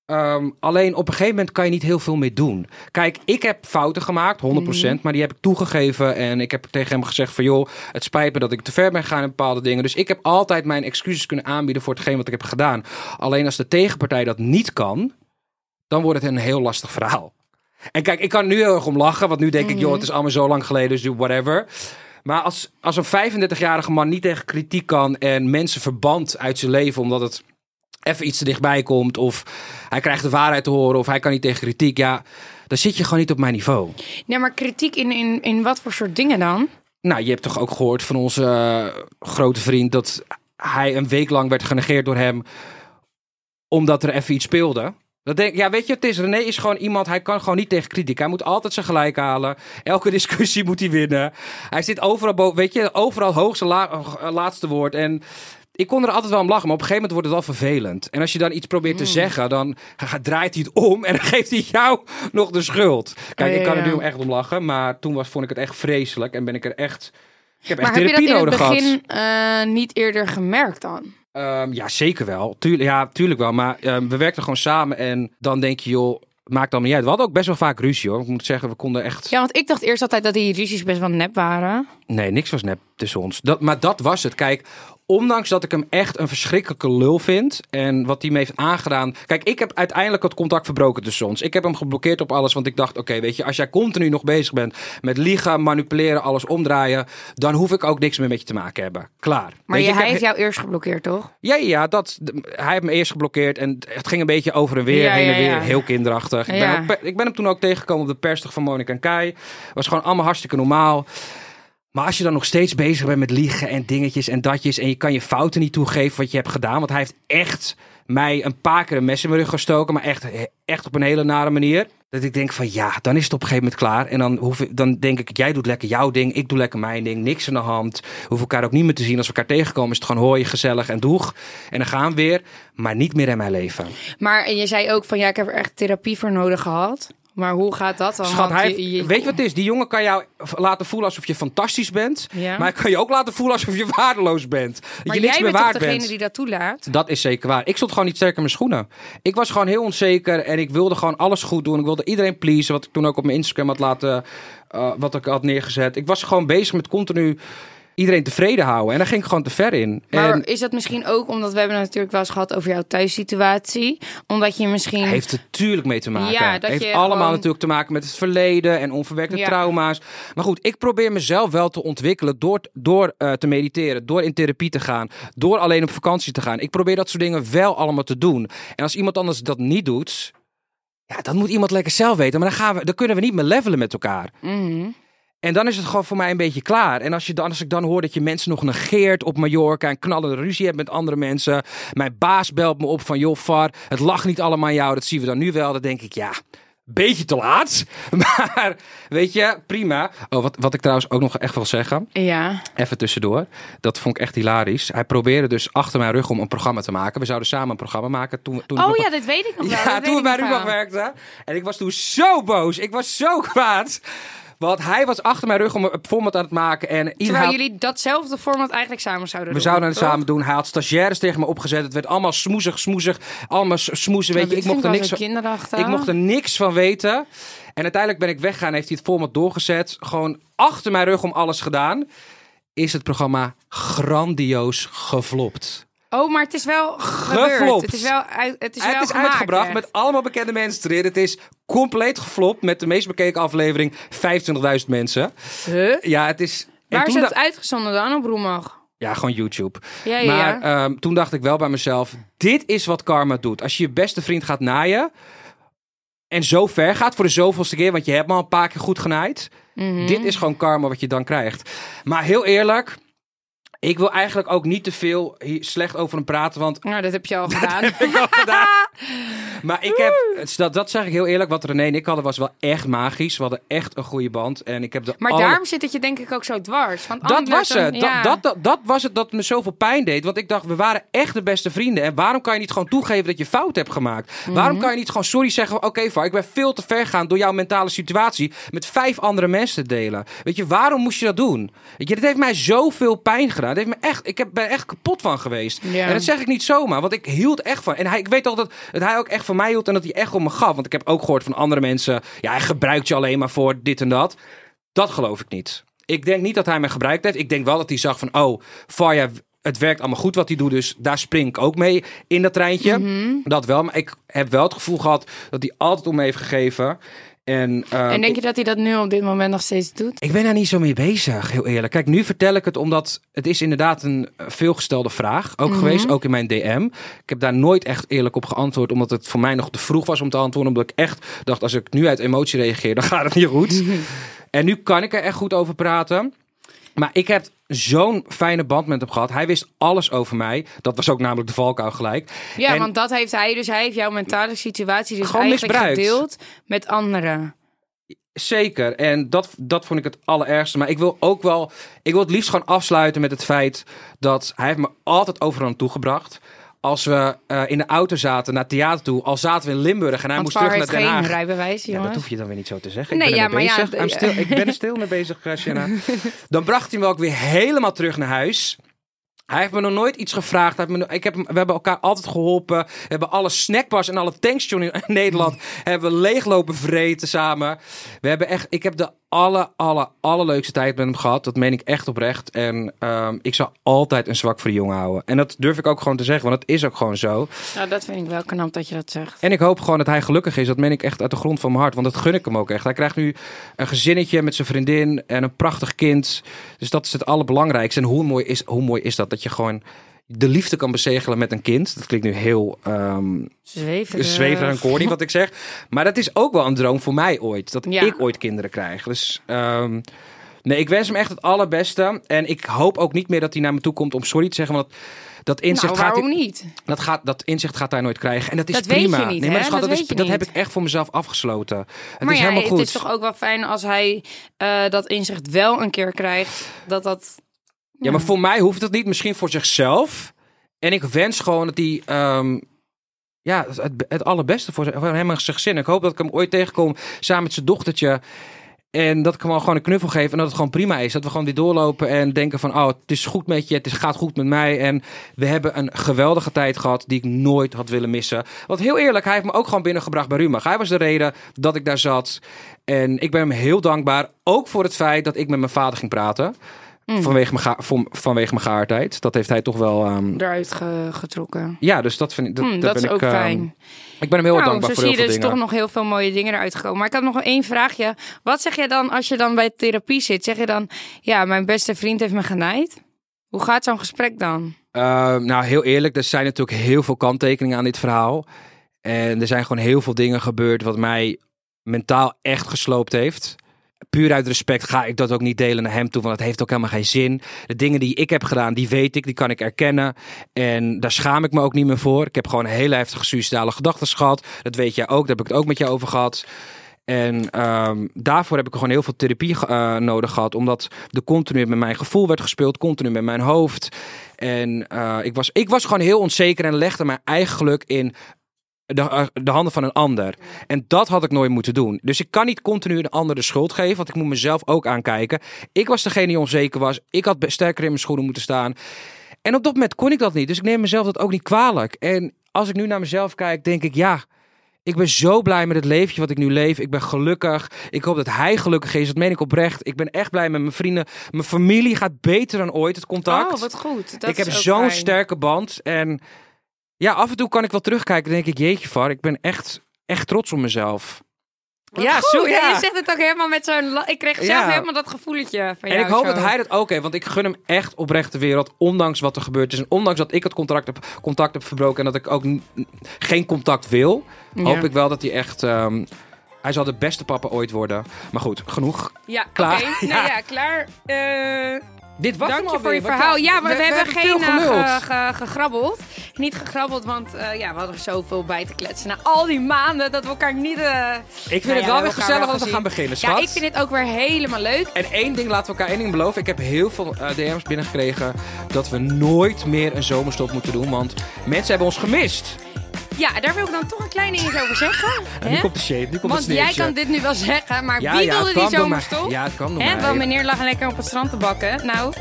Speaker 2: Ehm, alleen op een gegeven moment kan je niet heel veel meer doen. Kijk, ik heb fouten gemaakt, 100%, maar die heb ik toegegeven. En ik heb tegen hem gezegd van joh, het spijt me dat ik te ver ben gegaan in bepaalde dingen. Dus ik heb altijd mijn excuses kunnen aanbieden voor hetgeen wat ik heb gedaan. Alleen als de tegenpartij dat niet kan, dan wordt het een heel lastig verhaal. En kijk, ik kan nu heel erg om lachen, want nu denk ik joh, het is allemaal zo lang geleden, dus doe whatever. Maar als, als een 35-jarige man niet tegen kritiek kan en mensen verband uit zijn leven omdat het even iets te dichtbij komt of hij krijgt de waarheid te horen of hij kan niet tegen kritiek, ja, dan zit je gewoon niet op mijn niveau.
Speaker 3: Nee, maar kritiek in, in, in wat voor soort dingen dan?
Speaker 2: Nou, je hebt toch ook gehoord van onze eh, grote vriend dat hij een week lang werd genegeerd door hem omdat er even iets speelde. Dat denk, ja, weet je, het is René is gewoon iemand, hij kan gewoon niet tegen kritiek. Hij moet altijd zijn gelijk halen. Elke discussie moet hij winnen. Hij zit overal boven, weet je, overal hoogste la- eh, laatste woord. En ik kon er altijd wel om lachen, maar op een gegeven moment wordt het wel vervelend. En als je dan iets probeert
Speaker 3: Mm.
Speaker 2: te zeggen, dan ga- draait hij het om en dan geeft hij jou nog de schuld. Kijk,
Speaker 3: Oh, ja,
Speaker 2: ik kan er
Speaker 3: ja.
Speaker 2: nu om echt om lachen, maar toen was, vond ik het echt vreselijk en ben ik er echt... Ik heb echt
Speaker 3: maar heb je dat
Speaker 2: therapie
Speaker 3: in het
Speaker 2: nodig gehad.
Speaker 3: begin eh, niet eerder gemerkt dan?
Speaker 2: Ehm, ja, zeker wel. Tuurlijk, ja, tuurlijk wel. Maar ehm, we werkten gewoon samen en dan denk je, joh, maakt dan niet uit. We hadden ook best wel vaak ruzie hoor. Ik moet zeggen, we konden echt...
Speaker 3: Ja, want ik dacht eerst altijd dat die ruzies best wel nep waren.
Speaker 2: Nee, niks was nep tussen ons. Dat, maar dat was het. Kijk, Ondanks dat ik hem echt een verschrikkelijke lul vind. En wat hij me heeft aangedaan. Kijk, ik heb uiteindelijk het contact verbroken tussen ons. Ik heb hem geblokkeerd op alles. Want ik dacht, oké, weet je, als jij continu nog bezig bent met liegen, manipuleren, alles omdraaien. Dan hoef ik ook niks meer met je te maken hebben. Klaar.
Speaker 3: Maar
Speaker 2: Weet
Speaker 3: je,
Speaker 2: ik heb
Speaker 3: hij
Speaker 2: ge-
Speaker 3: heeft jou eerst geblokkeerd, toch?
Speaker 2: ja, ja, ja, dat, d- hij heeft me eerst geblokkeerd en het ging een beetje over en weer,
Speaker 3: Ja,
Speaker 2: heen en
Speaker 3: ja,
Speaker 2: weer.
Speaker 3: ja.
Speaker 2: Heel kinderachtig. Ik, ben
Speaker 3: Ja.
Speaker 2: ook pe- ik ben hem toen ook tegengekomen op de persdag van Monica en Kai. Was gewoon allemaal hartstikke normaal. Maar als je dan nog steeds bezig bent met liegen en dingetjes en datjes... en je kan je fouten niet toegeven wat je hebt gedaan... want hij heeft echt mij een paar keer een mes in mijn rug gestoken... maar echt, echt op een hele nare manier. Dat ik denk van ja, dan is het op een gegeven moment klaar. En dan, hoef ik, dan denk ik, jij doet lekker jouw ding, ik doe lekker mijn ding. Niks aan de hand. We hoeven elkaar ook niet meer te zien. Als we elkaar tegenkomen is het gewoon hoi, gezellig en doeg. En dan gaan we weer, maar niet meer in mijn leven.
Speaker 3: Maar en je zei ook van ja, ik heb er echt therapie voor nodig gehad. Maar hoe gaat dat dan?
Speaker 2: Schat,
Speaker 3: Want
Speaker 2: hij,
Speaker 3: je- je-
Speaker 2: weet je wat het is? Die jongen kan jou v- laten voelen alsof je fantastisch bent.
Speaker 3: Ja.
Speaker 2: Maar hij kan je ook laten voelen alsof je waardeloos bent. Dat
Speaker 3: Maar
Speaker 2: je
Speaker 3: jij
Speaker 2: niks meer
Speaker 3: bent toch
Speaker 2: waard
Speaker 3: degene
Speaker 2: bent.
Speaker 3: die dat toelaat?
Speaker 2: Dat is zeker waar. Ik stond gewoon niet sterk in mijn schoenen. Ik was gewoon heel onzeker en ik wilde gewoon alles goed doen. Ik wilde iedereen pleasen, wat ik toen ook op mijn Instagram had laten, eh, wat ik had neergezet. Ik was gewoon bezig met continu iedereen tevreden houden. En daar ging ik gewoon te ver in.
Speaker 3: Maar
Speaker 2: en
Speaker 3: is dat misschien ook omdat we hebben het natuurlijk wel eens gehad over jouw thuissituatie? Omdat je misschien.
Speaker 2: heeft er natuurlijk mee te maken.
Speaker 3: Ja, dat
Speaker 2: heeft
Speaker 3: je
Speaker 2: allemaal
Speaker 3: gewoon-
Speaker 2: natuurlijk te maken met het verleden en onverwerkte
Speaker 3: Ja.
Speaker 2: trauma's. Maar goed, ik probeer mezelf wel te ontwikkelen door, door eh, te mediteren, door in therapie te gaan, door alleen op vakantie te gaan. Ik probeer dat soort dingen wel allemaal te doen. En als iemand anders dat niet doet, ja, dan moet iemand lekker zelf weten. Maar dan, gaan we, dan kunnen we niet meer levelen met elkaar.
Speaker 3: Mhm.
Speaker 2: En dan is het gewoon voor mij een beetje klaar. En als, je dan, als ik dan hoor dat je mensen nog negeert op Mallorca... en knallende ruzie hebt met andere mensen... mijn baas belt me op van... joh, Far, het lag niet allemaal aan jou, dat zien we dan nu wel. Dan denk ik, ja, beetje te laat. Maar weet je, prima. Oh, wat, wat ik trouwens ook nog echt wil zeggen...
Speaker 3: Ja.
Speaker 2: Even tussendoor. Dat vond ik echt hilarisch. Hij probeerde dus achter mijn rug om een programma te maken. We zouden samen een programma maken. Toen, we- toen
Speaker 3: Oh
Speaker 2: we-
Speaker 3: ja, dit weet ik nog wel.
Speaker 2: ja,
Speaker 3: dit
Speaker 2: toen we
Speaker 3: nou, weet
Speaker 2: bij
Speaker 3: ik nog
Speaker 2: Rubach
Speaker 3: wel.
Speaker 2: werkten. En ik was toen zo boos. Ik was zo kwaad. Want hij was achter mijn rug om een format aan het maken. En iedereen
Speaker 3: Terwijl jullie datzelfde format eigenlijk samen zouden
Speaker 2: we
Speaker 3: doen.
Speaker 2: zouden het
Speaker 3: toch?
Speaker 2: samen doen. Hij had stagiaires tegen me opgezet. Het werd allemaal smoezig, smoezig. Allemaal s- smoezen, weet
Speaker 3: Nou,
Speaker 2: je. Ik
Speaker 3: dit
Speaker 2: mocht, er
Speaker 3: vind
Speaker 2: niks
Speaker 3: wel
Speaker 2: van,
Speaker 3: zo kinderachtig.
Speaker 2: ik mocht er niks van weten. En uiteindelijk ben ik weggegaan. Heeft hij het format doorgezet. Gewoon achter mijn rug om alles gedaan. Is het programma grandioos geflopt.
Speaker 3: Oh, maar het is wel gebeurd.
Speaker 2: Geflopt.
Speaker 3: Het is wel, uit, het is
Speaker 2: En
Speaker 3: wel
Speaker 2: het is
Speaker 3: gemaakt,
Speaker 2: uitgebracht
Speaker 3: echt.
Speaker 2: met allemaal bekende mensen erin. Het is compleet geflopt met de meest bekeken aflevering. 25.000 mensen.
Speaker 3: Huh?
Speaker 2: Ja, het is... en
Speaker 3: Waar is
Speaker 2: toen
Speaker 3: het
Speaker 2: da-
Speaker 3: uitgezonden dan op Roemag?
Speaker 2: Ja, gewoon YouTube.
Speaker 3: Ja, ja,
Speaker 2: maar
Speaker 3: ja.
Speaker 2: ehm, toen dacht ik wel bij mezelf, dit is wat karma doet. Als je je beste vriend gaat naaien en zo ver gaat voor de zoveelste keer, want je hebt me al een paar keer goed genaaid.
Speaker 3: Mhm.
Speaker 2: Dit is gewoon karma wat je dan krijgt. Maar heel eerlijk, ik wil eigenlijk ook niet te veel hier slecht over hem praten, want
Speaker 3: Nou, dat heb je al gedaan.
Speaker 2: heb ik al gedaan. Maar ik heb, dat, dat zeg ik heel eerlijk, wat René en ik hadden was wel echt magisch. We hadden echt een goede band. En ik heb de
Speaker 3: Maar
Speaker 2: alle-
Speaker 3: daarom zit het je denk ik ook zo dwars. Want
Speaker 2: Dat
Speaker 3: anders
Speaker 2: was
Speaker 3: dan-
Speaker 2: het.
Speaker 3: ja.
Speaker 2: Dat, dat, dat, dat was het dat me zoveel pijn deed. Want ik dacht, we waren echt de beste vrienden. En waarom kan je niet gewoon toegeven dat je fout hebt gemaakt?
Speaker 3: Mhm.
Speaker 2: Waarom kan je niet gewoon sorry zeggen? Oké, Var, ik ben veel te ver gaan door jouw mentale situatie met vijf andere mensen te delen. Weet je, waarom moest je dat doen? Weet je, dit heeft mij zoveel pijn gedaan. Dit heeft me echt, ik heb, ben er echt kapot van geweest.
Speaker 3: Ja.
Speaker 2: En dat zeg ik niet zomaar, want ik hield echt van. En hij, ik weet al dat, dat hij ook echt van mij hield en dat hij echt om me gaf. Want ik heb ook gehoord van andere mensen, ja, hij gebruikt je alleen maar voor dit en dat. Dat geloof ik niet. Ik denk niet dat hij mij gebruikt heeft. Ik denk wel dat hij zag van, oh, Varja, het werkt allemaal goed wat hij doet. Dus daar spring ik ook mee in dat treintje. Dat wel, maar ik heb wel het gevoel gehad dat hij altijd om me heeft gegeven. En, eh,
Speaker 3: En denk
Speaker 2: ik,
Speaker 3: je dat hij dat nu op dit moment nog steeds doet?
Speaker 2: ik ben daar niet zo mee bezig, heel eerlijk. Kijk, nu vertel ik het omdat het is inderdaad een eh, veelgestelde vraag. Ook
Speaker 3: Mhm.
Speaker 2: geweest, ook in mijn DM. Ik heb daar nooit echt eerlijk op geantwoord. Omdat het voor mij nog te vroeg was om te antwoorden. Omdat ik echt dacht, als ik nu uit emotie reageer, dan gaat het niet goed. En nu kan ik er echt goed over praten. Maar ik heb zo'n fijne band met hem gehad. Hij wist alles over mij. Dat was ook namelijk de valkuil gelijk.
Speaker 3: Ja,
Speaker 2: En-
Speaker 3: want dat heeft hij. Dus hij heeft jouw mentale situatie dus
Speaker 2: Gewoon
Speaker 3: eigenlijk
Speaker 2: misbruikt.
Speaker 3: gedeeld met anderen.
Speaker 2: Zeker. En dat, dat vond ik het allerergste. Maar ik wil ook wel. Ik wil het liefst gewoon afsluiten met het feit dat hij heeft me altijd overal naartoe gebracht. Als we eh, in de auto zaten naar het theater toe, al zaten we in Limburg en hij
Speaker 3: want
Speaker 2: moest
Speaker 3: Var
Speaker 2: terug naar
Speaker 3: heeft
Speaker 2: Den
Speaker 3: geen
Speaker 2: Haag.
Speaker 3: rijbewijs,
Speaker 2: Ja, dat
Speaker 3: jongens.
Speaker 2: hoef je dan weer niet zo te zeggen. Ik
Speaker 3: Nee,
Speaker 2: ben
Speaker 3: ja,
Speaker 2: ermee
Speaker 3: maar ja,
Speaker 2: bezig. I'm
Speaker 3: d-
Speaker 2: still- ik ben er stil mee bezig, eh, Shanna. Dan bracht hij me ook weer helemaal terug naar huis. Hij heeft me nog nooit iets gevraagd. Hij heeft me, no- ik heb, hem- we hebben elkaar altijd geholpen. We hebben alle snackbars en alle tankstations in Nederland hebben we leeglopen vreten samen. We hebben echt, ik heb de alle, alle, allerleukste tijd met hem gehad. Dat meen ik echt oprecht. En ehm, ik zal altijd een zwak voor die jongen houden. En dat durf ik ook gewoon te zeggen, want dat is ook gewoon zo.
Speaker 3: Nou, dat vind ik wel knap dat je dat zegt.
Speaker 2: En ik hoop gewoon dat hij gelukkig is. Dat meen ik echt uit de grond van mijn hart. Want dat gun ik hem ook echt. Hij krijgt nu een gezinnetje met zijn vriendin en een prachtig kind. Dus dat is het allerbelangrijkste. En hoe mooi is, hoe mooi is dat? Dat je gewoon de liefde kan bezegelen met een kind. Dat klinkt nu heel ehm
Speaker 3: Zweven.
Speaker 2: zwever en corny wat ik zeg. Maar dat is ook wel een droom voor mij ooit. Dat
Speaker 3: Ja.
Speaker 2: ik ooit kinderen krijg. Dus ehm, nee, ik wens hem echt het allerbeste. En ik hoop ook niet meer dat hij naar me toe komt om sorry te zeggen. Want dat, dat inzicht
Speaker 3: Nou,
Speaker 2: gaat hij-
Speaker 3: waarom niet?
Speaker 2: dat, gaat, dat inzicht gaat hij nooit krijgen. En dat is
Speaker 3: Dat weet je
Speaker 2: prima.
Speaker 3: niet,
Speaker 2: nee, maar
Speaker 3: hè?
Speaker 2: schat,
Speaker 3: Dat
Speaker 2: dat, is,
Speaker 3: weet je
Speaker 2: dat
Speaker 3: niet.
Speaker 2: heb ik echt voor mezelf afgesloten. Het
Speaker 3: maar
Speaker 2: is
Speaker 3: ja,
Speaker 2: helemaal goed.
Speaker 3: het is toch ook wel fijn als hij eh, dat inzicht wel een keer krijgt. Dat dat...
Speaker 2: Ja, maar voor mij hoeft het niet. Misschien voor zichzelf. En ik wens gewoon dat hij. ehm, ja, het, het allerbeste voor, voor hem en zijn gezin. Ik hoop dat ik hem ooit tegenkom samen met zijn dochtertje. En dat ik hem al gewoon een knuffel geef. En dat het gewoon prima is. Dat we gewoon weer doorlopen en denken van... Oh, het is goed met je. Het is, gaat goed met mij. En we hebben een geweldige tijd gehad die ik nooit had willen missen. Want heel eerlijk, hij heeft me ook gewoon binnengebracht bij Rumach. Hij was de reden dat ik daar zat. En ik ben hem heel dankbaar. Ook voor het feit dat ik met mijn vader ging praten. Vanwege, mijn ga- van- vanwege mijn geaardheid. Dat heeft hij toch wel... ehm,
Speaker 3: Eruit ge- getrokken.
Speaker 2: ja, dus dat vind ik... Dat,
Speaker 3: Hm,
Speaker 2: daar
Speaker 3: dat
Speaker 2: ben
Speaker 3: is ook
Speaker 2: ik, ehm,
Speaker 3: fijn.
Speaker 2: Ik ben hem heel
Speaker 3: Nou,
Speaker 2: dankbaar voor
Speaker 3: zo zie
Speaker 2: heel
Speaker 3: je
Speaker 2: veel
Speaker 3: dus
Speaker 2: dingen.
Speaker 3: toch nog heel veel mooie dingen eruit gekomen. Maar ik had nog wel één vraagje. Wat zeg jij dan als je dan bij therapie zit? Zeg je dan, ja, mijn beste vriend heeft me genaaid? Hoe gaat zo'n gesprek dan?
Speaker 2: Ehm, nou, heel eerlijk, er zijn natuurlijk heel veel kanttekeningen aan dit verhaal. En er zijn gewoon heel veel dingen gebeurd wat mij mentaal echt gesloopt heeft. Puur uit respect ga ik dat ook niet delen naar hem toe, want dat heeft ook helemaal geen zin. De dingen die ik heb gedaan, die weet ik, die kan ik erkennen. En daar schaam ik me ook niet meer voor. Ik heb gewoon hele heftige suïcidale gedachten gehad. Dat weet jij ook, daar heb ik het ook met jou over gehad. En ehm, daarvoor heb ik gewoon heel veel therapie ge- eh, nodig gehad. Omdat er continu met mijn gevoel werd gespeeld, continu met mijn hoofd. En eh, ik, was, ik was gewoon heel onzeker en legde mijn eigen geluk in de, eh, de handen van een ander. En dat had ik nooit moeten doen. Dus ik kan niet continu een ander de schuld geven, want ik moet mezelf ook aankijken. Ik was degene die onzeker was. Ik had be- sterker in mijn schoenen moeten staan. En op dat moment kon ik dat niet. Dus ik neem mezelf dat ook niet kwalijk. En als ik nu naar mezelf kijk, denk ik ja. Ik ben zo blij met het leventje wat ik nu leef. Ik ben gelukkig. Ik hoop dat hij gelukkig is. Dat meen ik oprecht. Ik ben echt blij met mijn vrienden. Mijn familie gaat beter dan ooit. Het contact
Speaker 3: Oh, wat goed. Dat
Speaker 2: ik heb
Speaker 3: is ook
Speaker 2: zo'n
Speaker 3: fijn.
Speaker 2: sterke band. En ja, af en toe kan ik wel terugkijken. Dan denk ik, jeetje, var, ik ben echt, echt trots op mezelf.
Speaker 3: Wat
Speaker 2: ja,
Speaker 3: goed.
Speaker 2: zo ja.
Speaker 3: Je zegt het ook helemaal met zo'n... la- Ik kreeg zelf
Speaker 2: Ja.
Speaker 3: helemaal dat gevoeletje van
Speaker 2: En
Speaker 3: jou
Speaker 2: ik hoop
Speaker 3: zo.
Speaker 2: dat hij dat ook heeft. Want ik gun hem echt oprecht de wereld. Ondanks wat er gebeurd is. En ondanks dat ik het contract heb, contact heb verbroken. En dat ik ook n- n- geen contact wil. Hoop ik wel dat hij echt... ehm, hij zal de beste papa ooit worden. Maar goed, genoeg.
Speaker 3: Ja,
Speaker 2: Klaar.
Speaker 3: oké.
Speaker 2: Ja.
Speaker 3: Nou ja, klaar. Eh,
Speaker 2: Dit was
Speaker 3: Dank
Speaker 2: hem
Speaker 3: je voor
Speaker 2: alweer.
Speaker 3: je
Speaker 2: Wat-
Speaker 3: verhaal. Ja, maar we, hebben,
Speaker 2: veel
Speaker 3: geen eh,
Speaker 2: geluld.
Speaker 3: ge- ge- gegrabbeld. Niet gegrabbeld, want eh, ja, we hadden er zoveel bij te kletsen. Na al die maanden dat we elkaar niet... eh,
Speaker 2: Ik vind het wel
Speaker 3: Nou ja, we
Speaker 2: weer
Speaker 3: hebben elkaar
Speaker 2: gezellig
Speaker 3: wel
Speaker 2: dat we
Speaker 3: gezien.
Speaker 2: gaan beginnen,
Speaker 3: ja,
Speaker 2: schat.
Speaker 3: ik vind dit ook weer helemaal leuk.
Speaker 2: En één ding laten we elkaar één ding beloven. Ik heb heel veel eh, DM's binnengekregen dat we nooit meer een zomerstop moeten doen. Want mensen hebben ons gemist.
Speaker 3: Ja, daar wil ik dan toch een klein dingetje over zeggen.
Speaker 2: En
Speaker 3: hè?
Speaker 2: nu komt de shade, nu komt
Speaker 3: Want
Speaker 2: het
Speaker 3: jij
Speaker 2: sneeuwtje.
Speaker 3: kan dit nu wel zeggen, maar
Speaker 2: Ja,
Speaker 3: wie
Speaker 2: ja,
Speaker 3: wilde
Speaker 2: het
Speaker 3: die
Speaker 2: kwam door mij.
Speaker 3: zomerstop?
Speaker 2: Ja, het kwam door
Speaker 3: Hè,
Speaker 2: mij.
Speaker 3: Want meneer lag lekker op het strand te bakken. Nou,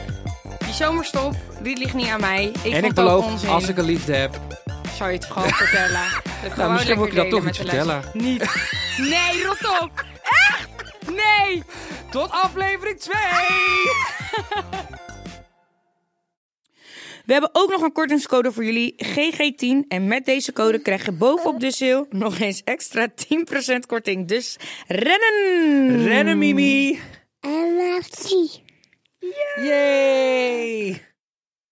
Speaker 3: die zomerstop, die ligt niet aan mij. Ik
Speaker 2: en
Speaker 3: vond
Speaker 2: ik
Speaker 3: het ook
Speaker 2: beloof,
Speaker 3: onzin.
Speaker 2: als ik een liefde heb, nou,
Speaker 3: Zou je het gewoon vertellen? Dat gewoon
Speaker 2: misschien moet ik dat
Speaker 3: lekker
Speaker 2: toch
Speaker 3: delen
Speaker 2: niet
Speaker 3: met de luisteraar.
Speaker 2: vertellen.
Speaker 3: Niet. Nee, rot op. Echt? Nee.
Speaker 2: tot aflevering 2!
Speaker 3: We hebben ook nog een kortingscode voor jullie, GG10. En met deze code krijg je bovenop de sale nog eens extra 10% korting. Dus rennen!
Speaker 2: Rennen Mimi!
Speaker 1: I love you.
Speaker 2: Yay!